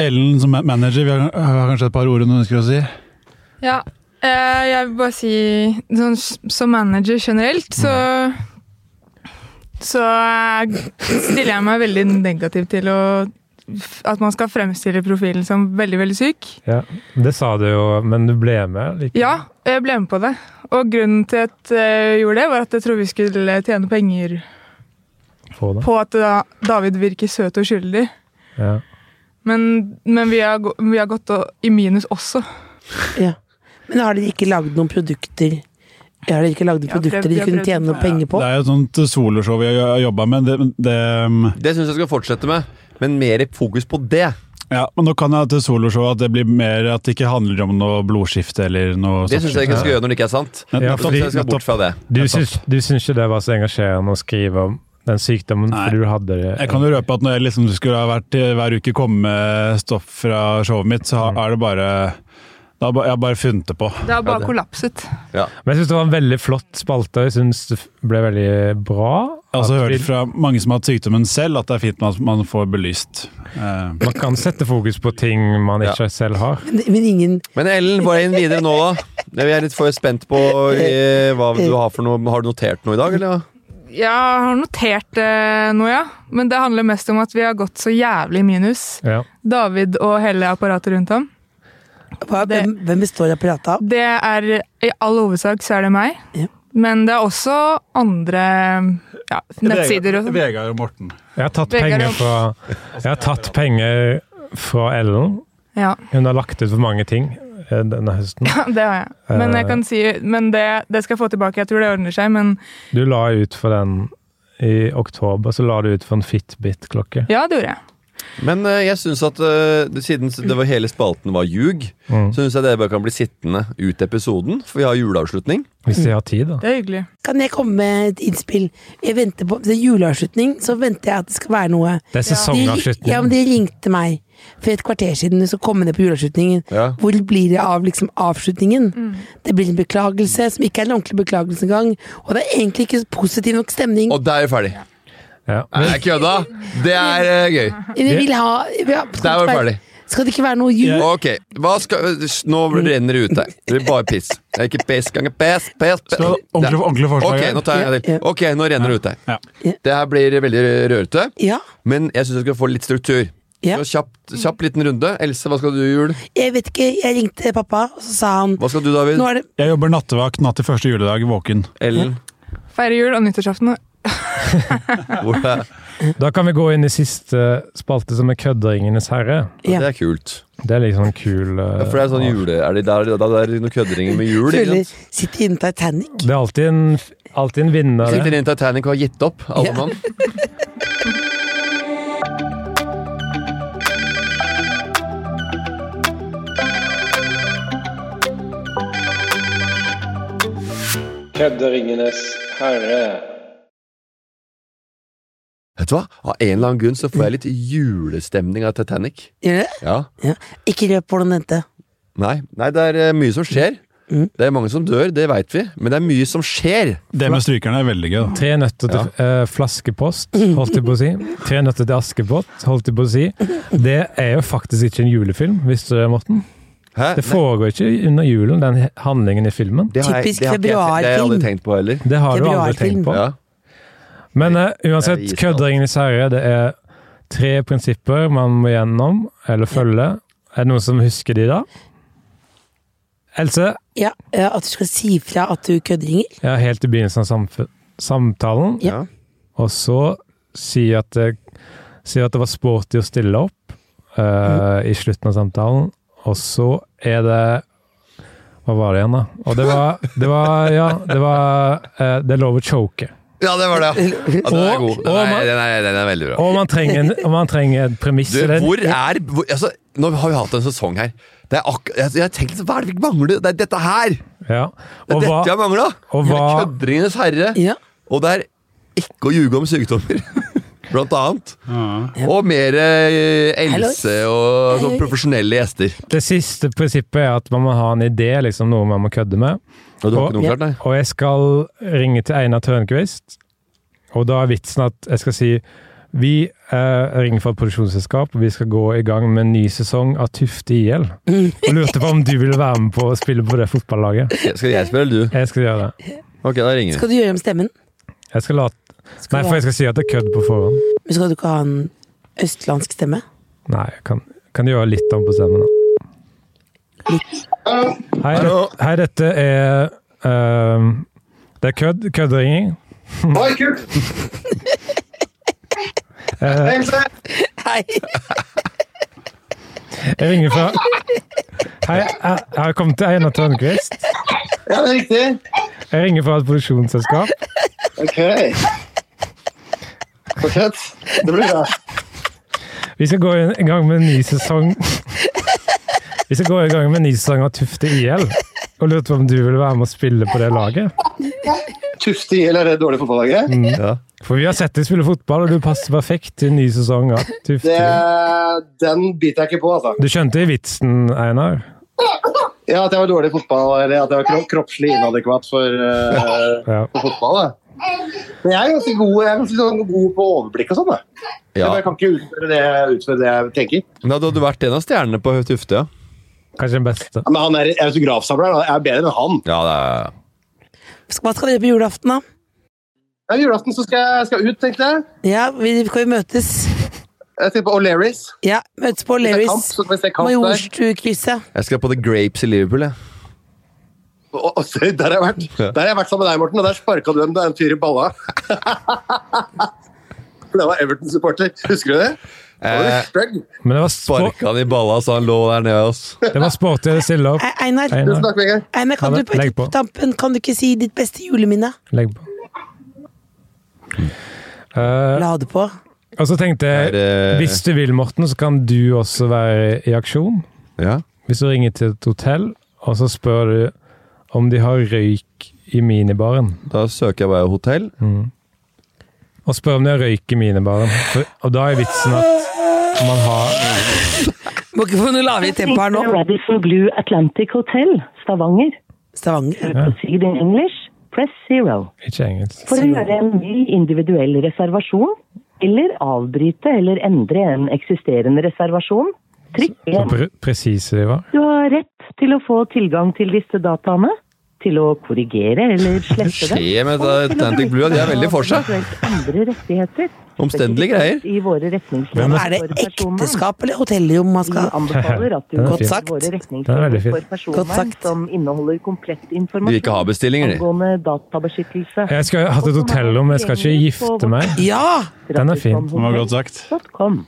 [SPEAKER 6] Ellen som er manager, vi har, har kanskje et par ord hun ønsker å si?
[SPEAKER 7] Ja, eh, jeg vil bare si sånn, s- Som manager generelt, så Så eh, stiller jeg meg veldig negativ til å f- at man skal fremstille profilen som veldig, veldig syk.
[SPEAKER 4] Ja, Det sa du jo, men du ble med? Like.
[SPEAKER 7] Ja, jeg ble med på det. Og grunnen til at jeg gjorde det, var at jeg trodde vi skulle tjene penger
[SPEAKER 4] På det.
[SPEAKER 7] på at da- David virker søt og skyldig.
[SPEAKER 4] Ja.
[SPEAKER 7] Men, men vi, har, gå- vi har gått å- i minus også.
[SPEAKER 3] Ja. Men har dere ikke lagd noen produkter Har dere ikke lagd noen
[SPEAKER 7] Ja, prøvd,
[SPEAKER 3] produkter dere
[SPEAKER 7] ja,
[SPEAKER 3] kunne
[SPEAKER 7] prøvd.
[SPEAKER 3] tjene noen penger på?
[SPEAKER 6] Det er jo et sånt soloshow vi har jobba med. Det, det,
[SPEAKER 2] Det syns jeg skal fortsette med, men mer fokus på det.
[SPEAKER 6] ja, men nå kan jeg til soloshow at det blir mer at det ikke handler om noe blodskifte eller noe
[SPEAKER 2] Det syns jeg ikke jeg skal gjøre når det ikke er sant.
[SPEAKER 6] Nett-
[SPEAKER 4] Ja,
[SPEAKER 6] nettopp,
[SPEAKER 2] Så
[SPEAKER 4] fordi-
[SPEAKER 2] jeg skal bort fra det.
[SPEAKER 4] Du, syns, du syns ikke det var så engasjerende å skrive om den sykdommen
[SPEAKER 6] Nei.
[SPEAKER 4] fordi du hadde det?
[SPEAKER 6] Jeg kan jo røpe at når jeg liksom skulle ha vært hver uke komme med stoff fra showet mitt, så har- er det bare da har ba- Jeg har bare funnet det på.
[SPEAKER 7] Det har bare
[SPEAKER 2] det-
[SPEAKER 7] kollapset.
[SPEAKER 4] Men jeg syns det var en veldig flott spalte. Jeg syns det f- ble veldig bra.
[SPEAKER 6] Jeg har også
[SPEAKER 4] At vi-
[SPEAKER 6] hørt fra mange som har hatt sykdommen selv, at det er fint at man får belyst. Eh,
[SPEAKER 4] Man kan sette fokus på ting man ikke selv har.
[SPEAKER 3] Men, men ingen
[SPEAKER 2] Men Ellen, bare inn videre nå, da. Jeg er litt for spent på eh, hva du har for noe. Har du notert noe i dag, eller?
[SPEAKER 7] Jeg har notert eh, noe, ja. Men det handler mest om at vi har gått så jævlig i minus.
[SPEAKER 4] Ja.
[SPEAKER 7] David og hele apparatet rundt ham.
[SPEAKER 3] hva,
[SPEAKER 7] Det-
[SPEAKER 3] hvem, hvem består apparatet av?
[SPEAKER 7] Det er I all hovedsak så er det meg.
[SPEAKER 3] Ja.
[SPEAKER 7] Men det er også andre ja, nettsider og sånn.
[SPEAKER 6] Vegard og Morten.
[SPEAKER 4] Jeg har tatt
[SPEAKER 7] Vegard,
[SPEAKER 4] penger fra, jeg har tatt penger fra Ellen.
[SPEAKER 7] Ja,
[SPEAKER 4] Hun har lagt ut for mange ting eh, denne høsten.
[SPEAKER 7] det har jeg. Men jeg kan si, men det, det skal jeg få tilbake. Jeg tror det ordner seg. Men
[SPEAKER 4] Du la ut for den i oktober, så la du ut for en Fitbit-klokke.
[SPEAKER 7] ja, det gjorde jeg.
[SPEAKER 2] Men eh, jeg syns at eh, siden det var hele spalten var ljug, så syns jeg dere bare kan bli sittende ut episoden, for vi har juleavslutning.
[SPEAKER 4] Hvis de har tid, da.
[SPEAKER 7] Det er hyggelig.
[SPEAKER 3] Kan jeg komme med et innspill? Jeg venter på Det er juleavslutning, så venter jeg at det skal være noe.
[SPEAKER 4] Det er
[SPEAKER 3] De, ja, men
[SPEAKER 4] sesongavslutning.
[SPEAKER 3] de ringte meg for et kvarter siden så kom det på juleavslutningen.
[SPEAKER 2] Ja.
[SPEAKER 3] Hvor blir det av liksom, avslutningen? Det blir en beklagelse som ikke er en ordentlig beklagelse engang. Og det er egentlig ikke positiv nok stemning.
[SPEAKER 2] Og der er vi ferdig.
[SPEAKER 4] Ja.
[SPEAKER 2] Nei, jeg kødda! Det er eh, gøy.
[SPEAKER 3] Vi vil ha, vi har,
[SPEAKER 2] Der var vi ferdig.
[SPEAKER 3] Skal det ikke være noe jul?
[SPEAKER 2] Ok, hva skal Nå renner det ut her. Det blir bare piss. Det er ikke piss ganger piss, piss, piss.
[SPEAKER 6] Skal ordentlig, ordentlig forslag
[SPEAKER 2] Ok,
[SPEAKER 6] her.
[SPEAKER 2] nå tar jeg en
[SPEAKER 3] Ja, ja.
[SPEAKER 2] til. Ok, nå renner det ut
[SPEAKER 6] Ja.
[SPEAKER 2] her. Det her blir veldig rørete,
[SPEAKER 3] Ja.
[SPEAKER 2] men jeg syns jeg skal få litt struktur.
[SPEAKER 3] Ja.
[SPEAKER 2] Så kjapt, kjapp liten runde. Else, hva skal du i jul?
[SPEAKER 3] Jeg vet ikke, jeg ringte pappa, og så sa han
[SPEAKER 2] Hva skal du, David?
[SPEAKER 3] Nå er det
[SPEAKER 6] Jeg jobber nattevakt natt til første juledag, våken.
[SPEAKER 2] Ellen?
[SPEAKER 7] Feire jul og nyttårsaften.
[SPEAKER 2] Hvor er
[SPEAKER 4] Da kan vi gå inn i siste spalte, som er Kødderingenes herre.
[SPEAKER 2] Det
[SPEAKER 3] ja.
[SPEAKER 2] er kult.
[SPEAKER 4] Det er liksom en kul
[SPEAKER 2] Ja,
[SPEAKER 4] eh,
[SPEAKER 2] for det er sånn jule... Er det der, der, er det noen kødderinger med jul? ikke
[SPEAKER 3] Føler
[SPEAKER 2] sant?
[SPEAKER 3] sitter innen Titanic.
[SPEAKER 4] Det er alltid en, alltid en vinner.
[SPEAKER 2] Sitter
[SPEAKER 4] Det.
[SPEAKER 2] inne i Titanic og har gitt opp, alle
[SPEAKER 3] Ja.
[SPEAKER 2] mann.
[SPEAKER 8] Kødderingenes herre.
[SPEAKER 2] Vet du hva? Av en eller annen grunn så får jeg litt julestemning av Titanic.
[SPEAKER 3] Gjør det?
[SPEAKER 2] Ja.
[SPEAKER 3] Ja. Ikke røp hvordan det endte.
[SPEAKER 2] Nei, nei det er eh, mye som skjer.
[SPEAKER 3] Mm.
[SPEAKER 2] Det er mange som dør, det veit vi, men det er mye som skjer.
[SPEAKER 6] Det med strykerne er veldig gøy. da.
[SPEAKER 4] Tre nøtter til eh, flaskepost, holdt jeg på å si. Tre nøtter til Askepott, holdt jeg på å si. Det er jo faktisk ikke en julefilm, visste du det, Morten?
[SPEAKER 2] Hæ?
[SPEAKER 4] Det
[SPEAKER 2] Nei,
[SPEAKER 4] foregår ikke under julen, den he- handlingen i filmen.
[SPEAKER 2] det har jeg-
[SPEAKER 3] Typisk
[SPEAKER 2] det har ikke jeg- Det har jeg aldri
[SPEAKER 3] februarfilm.
[SPEAKER 2] tenkt på heller.
[SPEAKER 4] Det har du aldri
[SPEAKER 3] Februarfilm.
[SPEAKER 4] tenkt på.
[SPEAKER 2] Ja.
[SPEAKER 4] Men eh, uansett,
[SPEAKER 2] Det er is, da.
[SPEAKER 4] kødderingenes herre, det er tre prinsipper man må gjennom, eller følge. Er det noen som husker de da? Else,
[SPEAKER 3] Ja, eh, At du skal si fra at du køddringer.
[SPEAKER 4] jeg er helt i begynnelsen av samf- samtalen,
[SPEAKER 3] Ja.
[SPEAKER 2] Ja.
[SPEAKER 4] og så si at det, si at det var sporty å stille opp eh,
[SPEAKER 2] Mm.
[SPEAKER 4] i slutten av samtalen, og så er det Hva var det igjen, da? Og det var, det var Ja, det var eh, Det er lov å choke.
[SPEAKER 2] ja, det var det. ja. Ja, den er
[SPEAKER 4] Og-
[SPEAKER 2] god. Den
[SPEAKER 4] og
[SPEAKER 2] er,
[SPEAKER 4] man-
[SPEAKER 2] den er, den er veldig bra.
[SPEAKER 4] Og man trenger, en- og man trenger et premiss.
[SPEAKER 2] Du,
[SPEAKER 4] eller en-
[SPEAKER 2] hvor er hvor, altså, Nå har vi hatt en sesong her. Det er ak jeg, jeg har tenkt, Hva er det vi mangler? Det er dette her!
[SPEAKER 4] Ja.
[SPEAKER 2] Det
[SPEAKER 4] Og
[SPEAKER 2] er dette vi
[SPEAKER 4] hva,
[SPEAKER 2] har mangla!
[SPEAKER 4] og hva-
[SPEAKER 2] Kødderingenes herre.
[SPEAKER 3] Ja.
[SPEAKER 2] Og det er ikke å ljuge om sykdommer. Blant annet. Og mer eh, Else og sånn profesjonelle gjester.
[SPEAKER 4] det siste prinsippet er at man må ha en idé, liksom noe man må kødde med.
[SPEAKER 2] Og du har
[SPEAKER 4] Og-
[SPEAKER 2] ikke noe klart, nei?
[SPEAKER 4] Og jeg skal ringe til Einar Tørnquist, og da er vitsen at jeg skal si vi eh, ringer fra et produksjonsselskap, og vi skal gå i gang med en ny sesong av Tufte IL. Og lurte på om du ville være med på å spille på det fotballaget.
[SPEAKER 2] Skal jeg spørre, eller du?
[SPEAKER 4] Jeg skal gjøre det.
[SPEAKER 2] Ok, da ringer vi.
[SPEAKER 3] Skal du gjøre om stemmen?
[SPEAKER 4] Jeg skal late
[SPEAKER 3] Skal
[SPEAKER 4] Nei,
[SPEAKER 3] du
[SPEAKER 4] for
[SPEAKER 3] ha-
[SPEAKER 4] jeg skal si at det er kødd på forhånd.
[SPEAKER 3] Men skal du ikke ha en østlandsk stemme?
[SPEAKER 4] Nei, jeg kan, kan gjøre litt om på stemmen, da. Hei, det,
[SPEAKER 2] Hallo.
[SPEAKER 4] hei, dette er eh, Det er kødd. Køddringing.
[SPEAKER 1] Oi, kult! Else,
[SPEAKER 3] Hei!
[SPEAKER 4] Jeg ringer fra Hei, jeg jeg har kommet til Einar Tørnquist.
[SPEAKER 1] ja, det er riktig.
[SPEAKER 4] Jeg ringer fra et produksjonsselskap.
[SPEAKER 1] Ok. Fortsett. Det blir bra.
[SPEAKER 4] Vi skal gå i gang med en ny sesong Vi skal gå i gang med en ny sesong av Tufte IL. Og lurte på om du ville være med å spille på det laget.
[SPEAKER 8] Tufte i hele det dårlige fotballaget.
[SPEAKER 2] Ja.
[SPEAKER 4] For vi har sett deg spille fotball, og du passer perfekt til en ny sesong av Tufte.
[SPEAKER 8] Det,
[SPEAKER 4] IL.
[SPEAKER 8] den biter jeg ikke på, altså.
[SPEAKER 4] Du skjønte vitsen, Einar?
[SPEAKER 8] Ja, At jeg var dårlig i fotball, eller at jeg var kro kroppslig inadekvat for, eh,
[SPEAKER 4] Ja.
[SPEAKER 8] for fotball. Da. Men jeg er ganske god, jeg er ganske sånn god på overblikk og sånn. da.
[SPEAKER 2] ja.
[SPEAKER 8] Men Jeg kan ikke utføre det, utføre det jeg tenker.
[SPEAKER 2] Men da hadde du vært en av stjernene på Tufte, ja?
[SPEAKER 4] Kanskje den beste.
[SPEAKER 8] Ja, Men han er autografsamleren. da. Jeg er bedre enn han.
[SPEAKER 2] Ja, det er
[SPEAKER 3] Skal- Hva skal dere på julaften, da?
[SPEAKER 8] Ja, julaften så skal jeg skal jeg ut, tenkte jeg.
[SPEAKER 3] Ja, vi skal jo møtes.
[SPEAKER 8] Jeg tenkte på O'Learys.
[SPEAKER 3] Ja, møtes på
[SPEAKER 8] Hvis det er kamp,
[SPEAKER 3] Lerris.
[SPEAKER 8] så- Hvis det er kamp der.
[SPEAKER 3] Majorstukrysset.
[SPEAKER 2] Jeg skal på The Grapes i Liverpool, jeg.
[SPEAKER 8] Å, å, se, der, har jeg vært, der har jeg vært sammen med deg, Morten, og der sparka du en, en fyr i balla. det var Everton-supporter. Husker du det? Han var
[SPEAKER 2] Eh,
[SPEAKER 8] stygg.
[SPEAKER 4] Men det var, spor-
[SPEAKER 2] Sparka han i balla så han lå der nede hos
[SPEAKER 4] det var sporty å stille opp.
[SPEAKER 3] Ei- Einar,
[SPEAKER 8] Tusen
[SPEAKER 4] Einar,
[SPEAKER 8] takk, Vegard.
[SPEAKER 3] Einar kan,
[SPEAKER 4] Ha
[SPEAKER 3] du
[SPEAKER 4] det.
[SPEAKER 3] på,
[SPEAKER 4] Legg på.
[SPEAKER 3] på tampen kan du ikke si ditt beste juleminne?
[SPEAKER 4] legg på. Eh,
[SPEAKER 3] La det på.
[SPEAKER 4] og så tenkte
[SPEAKER 2] Er eh,
[SPEAKER 4] jeg,
[SPEAKER 2] det-
[SPEAKER 4] hvis du vil, Morten, så kan du også være i aksjon.
[SPEAKER 2] Ja.
[SPEAKER 4] Hvis du ringer til et hotell, og så spør du om de har røyk i minibaren.
[SPEAKER 2] Da søker jeg bare hotell.
[SPEAKER 4] Og spør om de har røyk i minibaren. For, og da er vitsen at man har
[SPEAKER 3] Må ikke få noe lavere tempo her nå.
[SPEAKER 9] Radisson Blue Atlantic Hotel, Stavanger.
[SPEAKER 3] Stavanger.
[SPEAKER 9] To proceed in English, press zero.
[SPEAKER 4] Ikke engelsk.
[SPEAKER 9] For å gjøre en ny individuell reservasjon, Eller avbryte eller endre en eksisterende reservasjon. Trykk
[SPEAKER 4] Så
[SPEAKER 9] 1.
[SPEAKER 4] pre presise de var.
[SPEAKER 9] Du har rett til å få tilgang til disse dataene. Til å korrigere eller slette dem.
[SPEAKER 2] Skje
[SPEAKER 9] og
[SPEAKER 2] med
[SPEAKER 9] til å
[SPEAKER 2] Atlantic Blue, de er veldig for seg.
[SPEAKER 9] eventuelt Andre rettigheter.
[SPEAKER 2] Omstendelige greier.
[SPEAKER 9] I våre retningslinjer
[SPEAKER 3] Er det
[SPEAKER 9] for personvern.
[SPEAKER 3] ekteskap eller hotellrom man
[SPEAKER 9] Vi
[SPEAKER 3] skal
[SPEAKER 9] anbefaler at du
[SPEAKER 4] Den er
[SPEAKER 9] leser
[SPEAKER 3] fin. Godt
[SPEAKER 9] våre
[SPEAKER 4] Den er
[SPEAKER 9] retningslinjer
[SPEAKER 4] veldig fin.
[SPEAKER 9] for personvern
[SPEAKER 3] sagt.
[SPEAKER 9] som inneholder komplett
[SPEAKER 2] De vil ikke ha
[SPEAKER 9] informasjon
[SPEAKER 2] bestillinger, de.
[SPEAKER 9] angående databeskyttelse.
[SPEAKER 4] Jeg skal ha hatt et hotellrom, men jeg skal ikke gifte meg.
[SPEAKER 3] Ja!
[SPEAKER 4] Den er fin.
[SPEAKER 6] Det var godt sagt.
[SPEAKER 9] .com.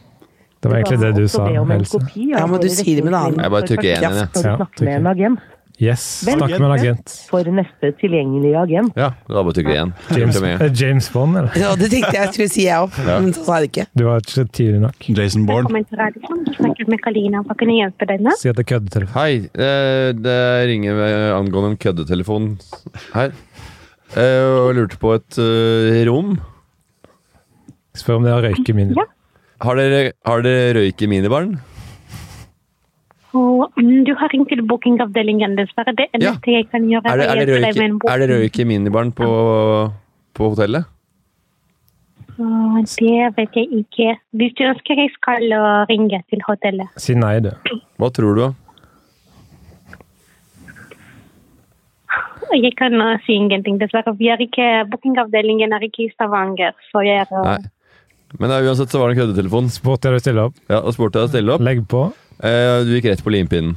[SPEAKER 4] Det var egentlig det du sa, Else.
[SPEAKER 3] Ja, men du sier det med en annen.
[SPEAKER 2] Jeg bare trykker igjen,
[SPEAKER 3] Ja.
[SPEAKER 9] Skal
[SPEAKER 4] Ja,
[SPEAKER 9] du snakke med en agent
[SPEAKER 4] Yes. Snakk med en agent.
[SPEAKER 9] for neste tilgjengelige agent?
[SPEAKER 2] Ja, da bare tygger jeg igjen.
[SPEAKER 4] James,
[SPEAKER 2] Kom igjen.
[SPEAKER 4] eh, James Bond, eller?
[SPEAKER 3] ja! Det tenkte jeg skulle si, jeg òg, men så sa jeg det ikke.
[SPEAKER 4] Du var ikke tidlig nok.
[SPEAKER 6] Jason Bourne.
[SPEAKER 10] Velkommen til radioen. Du snakker med Kalina. Hva kan jeg hjelpe deg med?
[SPEAKER 4] Si at det er køddetelefon.
[SPEAKER 2] Hei, eh, det ringer eh, angående en køddetelefon her. Eh, Og lurte på et eh, rom.
[SPEAKER 4] Spør om det er røyk i min.
[SPEAKER 10] Ja.
[SPEAKER 2] Har dere, har dere røyk i minibaren?
[SPEAKER 10] Og, mm, du har ringt til bookingavdelingen, dessverre. Det eneste jeg kan gjøre,
[SPEAKER 2] Er det, er det,
[SPEAKER 10] å
[SPEAKER 2] røyk, i- er det røyk i minibaren på, på hotellet?
[SPEAKER 10] Å, Det vet jeg ikke. Hvis du ønsker, jeg skal øh, ringe til hotellet.
[SPEAKER 4] Si nei, du.
[SPEAKER 2] Hva tror du?
[SPEAKER 10] Og Jeg kan øh, si ingenting, dessverre. Vi er ikke, bookingavdelingen er ikke i Stavanger, så jeg er øh,
[SPEAKER 2] Nei. Men det er uansett så var det en køddetelefon.
[SPEAKER 4] Spurte jeg deg å stille opp.
[SPEAKER 2] Ja, og spurte deg å stille opp.
[SPEAKER 4] Legg på.
[SPEAKER 2] Eh, du gikk rett på limpinnen.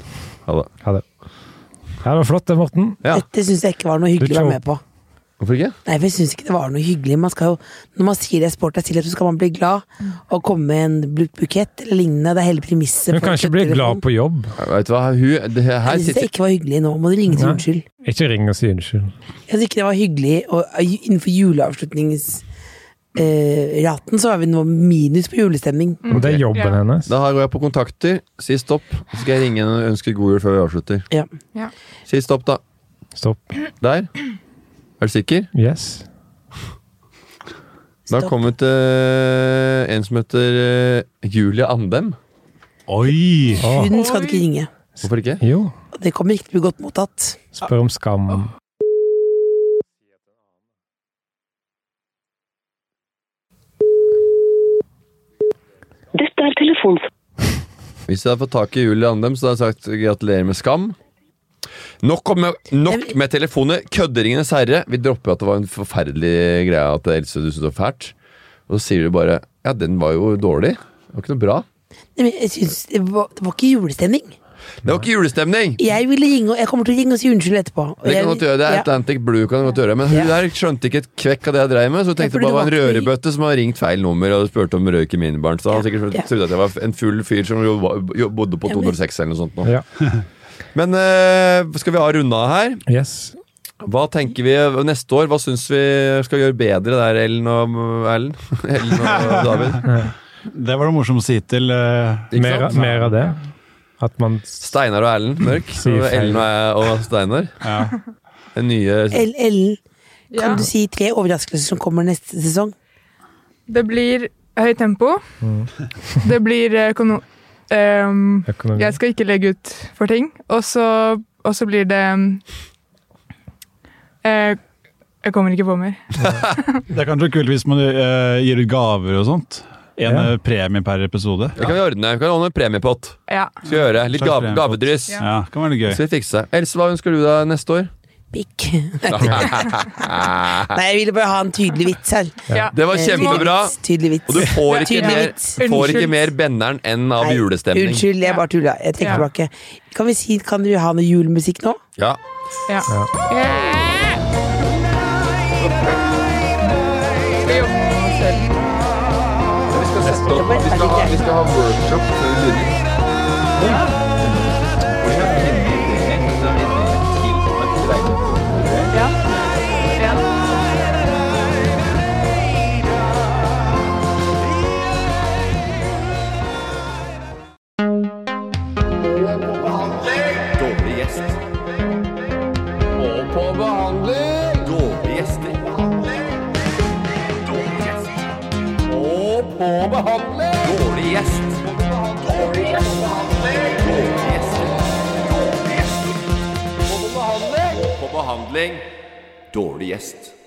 [SPEAKER 2] Ha det.
[SPEAKER 4] Ha det. Ja, det var flott, det, Morten.
[SPEAKER 2] Ja.
[SPEAKER 3] Dette syns jeg ikke var noe hyggelig å være med på.
[SPEAKER 2] Hvorfor ikke?
[SPEAKER 3] Nei, for jeg synes ikke det var noe hyggelig. Man skal jo, når man sier det er sport er stillhet, så skal man bli glad og komme med en bu- bukett eller lignende. Det er hele premisset.
[SPEAKER 4] Hun
[SPEAKER 3] for
[SPEAKER 4] kan ikke bli glad
[SPEAKER 3] kjøtttelefon.
[SPEAKER 4] på jobb.
[SPEAKER 2] Ja, Vet du hva, hun det her
[SPEAKER 3] Jeg synes det
[SPEAKER 2] sitter
[SPEAKER 3] ikke var hyggelig nå. Må du ringe til
[SPEAKER 4] Nei.
[SPEAKER 3] unnskyld?
[SPEAKER 4] Ikke ring og si unnskyld.
[SPEAKER 3] Jeg synes ikke det var hyggelig. Og eh, innenfor juleavslutningsraten så har vi noe minus på julestemning.
[SPEAKER 4] Men det er
[SPEAKER 7] Ja.
[SPEAKER 4] jobben hennes.
[SPEAKER 2] Da går jeg på kontakter, si stopp, så skal jeg ringe henne og ønske god jul før vi avslutter.
[SPEAKER 3] Ja.
[SPEAKER 2] Si stopp, da.
[SPEAKER 4] Stopp.
[SPEAKER 2] Der. Er du sikker?
[SPEAKER 4] Yes.
[SPEAKER 2] Det har
[SPEAKER 3] Stopp.
[SPEAKER 2] kommet eh, en som heter eh, Julia Andem.
[SPEAKER 6] Oi!
[SPEAKER 4] Å,
[SPEAKER 3] Hun skal du ikke ringe.
[SPEAKER 2] Hvorfor ikke?
[SPEAKER 4] jo.
[SPEAKER 3] Og det kommer ikke til å bli godt mottatt.
[SPEAKER 4] Spør om skam.
[SPEAKER 9] Dette er telefon...
[SPEAKER 2] Hvis jeg hadde fått tak i Julia Andem, så hadde jeg sagt gratulerer med skam. Nok om- nok med telefoner. Kødderingenes herre. Vi dropper at det var en forferdelig greie at Else du syntes det var fælt. Og så sier du bare ja, den var jo dårlig. Det var ikke noe bra.
[SPEAKER 3] Nei, men jeg synes det, var, det var ikke julestemning.
[SPEAKER 2] Det var ikke julestemning!
[SPEAKER 3] Jeg ville ringe, og jeg kommer til å ringe og si unnskyld etterpå. Og
[SPEAKER 2] Det
[SPEAKER 3] jeg-
[SPEAKER 2] kan du godt gjøre, det er
[SPEAKER 3] Ja.
[SPEAKER 2] Atlantic Blue kan du godt gjøre Men hun der skjønte ikke et kvekk av det jeg dreier med Så hun tenkte
[SPEAKER 3] for det
[SPEAKER 2] bare det var en
[SPEAKER 3] var ikke-
[SPEAKER 2] rørebøtte som hadde ringt feil nummer Og spurte om røyk i minibarn Så han
[SPEAKER 3] Ja,
[SPEAKER 2] sikkert
[SPEAKER 3] ja.
[SPEAKER 2] trodde at jeg var en full fyr som jo var- jo bodde på
[SPEAKER 3] Ja, men-
[SPEAKER 2] 206 eller noe sånt nå.
[SPEAKER 4] Ja.
[SPEAKER 2] Men eh, skal vi ha runda her?
[SPEAKER 4] Yes.
[SPEAKER 2] Hva tenker vi eh, neste år? Hva synes vi skal gjøre bedre der, Ellen og, Ellen? Ellen og David?
[SPEAKER 6] Det var det morsomste hittil. eh.
[SPEAKER 2] Ikke
[SPEAKER 4] Mer,
[SPEAKER 2] sant?
[SPEAKER 4] mer av det. At man
[SPEAKER 2] Steinar og Ellen Mørk
[SPEAKER 4] Sier feil.
[SPEAKER 2] Ellen og, og Steinar
[SPEAKER 6] Ja.
[SPEAKER 2] Den nye
[SPEAKER 3] El- Ellen, kan
[SPEAKER 7] Ja.
[SPEAKER 3] du si tre overraskelser som kommer neste sesong?
[SPEAKER 7] Det blir høyt tempo.
[SPEAKER 3] Mm.
[SPEAKER 7] Det blir eh, kono... ehm,
[SPEAKER 4] økonomi
[SPEAKER 7] jeg skal ikke legge ut for ting. Og så, og så blir det mm, eh, Jeg kommer ikke på mer.
[SPEAKER 6] Det er kanskje kult hvis man eh, gir ut gaver og sånt. En
[SPEAKER 4] Ja.
[SPEAKER 6] eh, premie per episode.
[SPEAKER 2] Det kan vi ordne, vi kan ordne en premiepott
[SPEAKER 7] Ja.
[SPEAKER 2] Skal vi gjøre, litt
[SPEAKER 6] Slags
[SPEAKER 2] gav,
[SPEAKER 6] premiepott.
[SPEAKER 2] gavedryss
[SPEAKER 7] Ja.
[SPEAKER 6] Ja, kan være litt gøy.
[SPEAKER 2] Skal vi fikse. Else, hva ønsker du deg neste år?
[SPEAKER 3] Pikk. Nei, jeg ville bare ha en tydelig vits her.
[SPEAKER 7] Ja.
[SPEAKER 2] Det
[SPEAKER 3] Eh,
[SPEAKER 2] var kjempebra!
[SPEAKER 3] Tydelig vits, Tydelig vits.
[SPEAKER 2] Og du får ikke
[SPEAKER 3] Tydelig
[SPEAKER 2] mer,
[SPEAKER 3] vits.
[SPEAKER 2] får ikke mer benneren enn av
[SPEAKER 3] Nei,
[SPEAKER 2] julestemning.
[SPEAKER 3] Unnskyld, jeg bare tulla. Jeg trekker
[SPEAKER 7] Ja.
[SPEAKER 3] tilbake. Kan vi si, kan du ha noe julemusikk nå?
[SPEAKER 2] Ja.
[SPEAKER 7] ja. Skal jobbe med oss selv.
[SPEAKER 3] Eller er det ikke?
[SPEAKER 5] skal ha workshop før juni.
[SPEAKER 7] Ja. Ja.
[SPEAKER 5] Dårlig gjest. Og på behandling. Dårlig gjester. Dårlig gjest. Og på behandling. Dårlig gjest. Dårlig gjest. Dårlig gjester. Dårlig gjester. Og på behandling. Og på behandling. Dårlig gjest.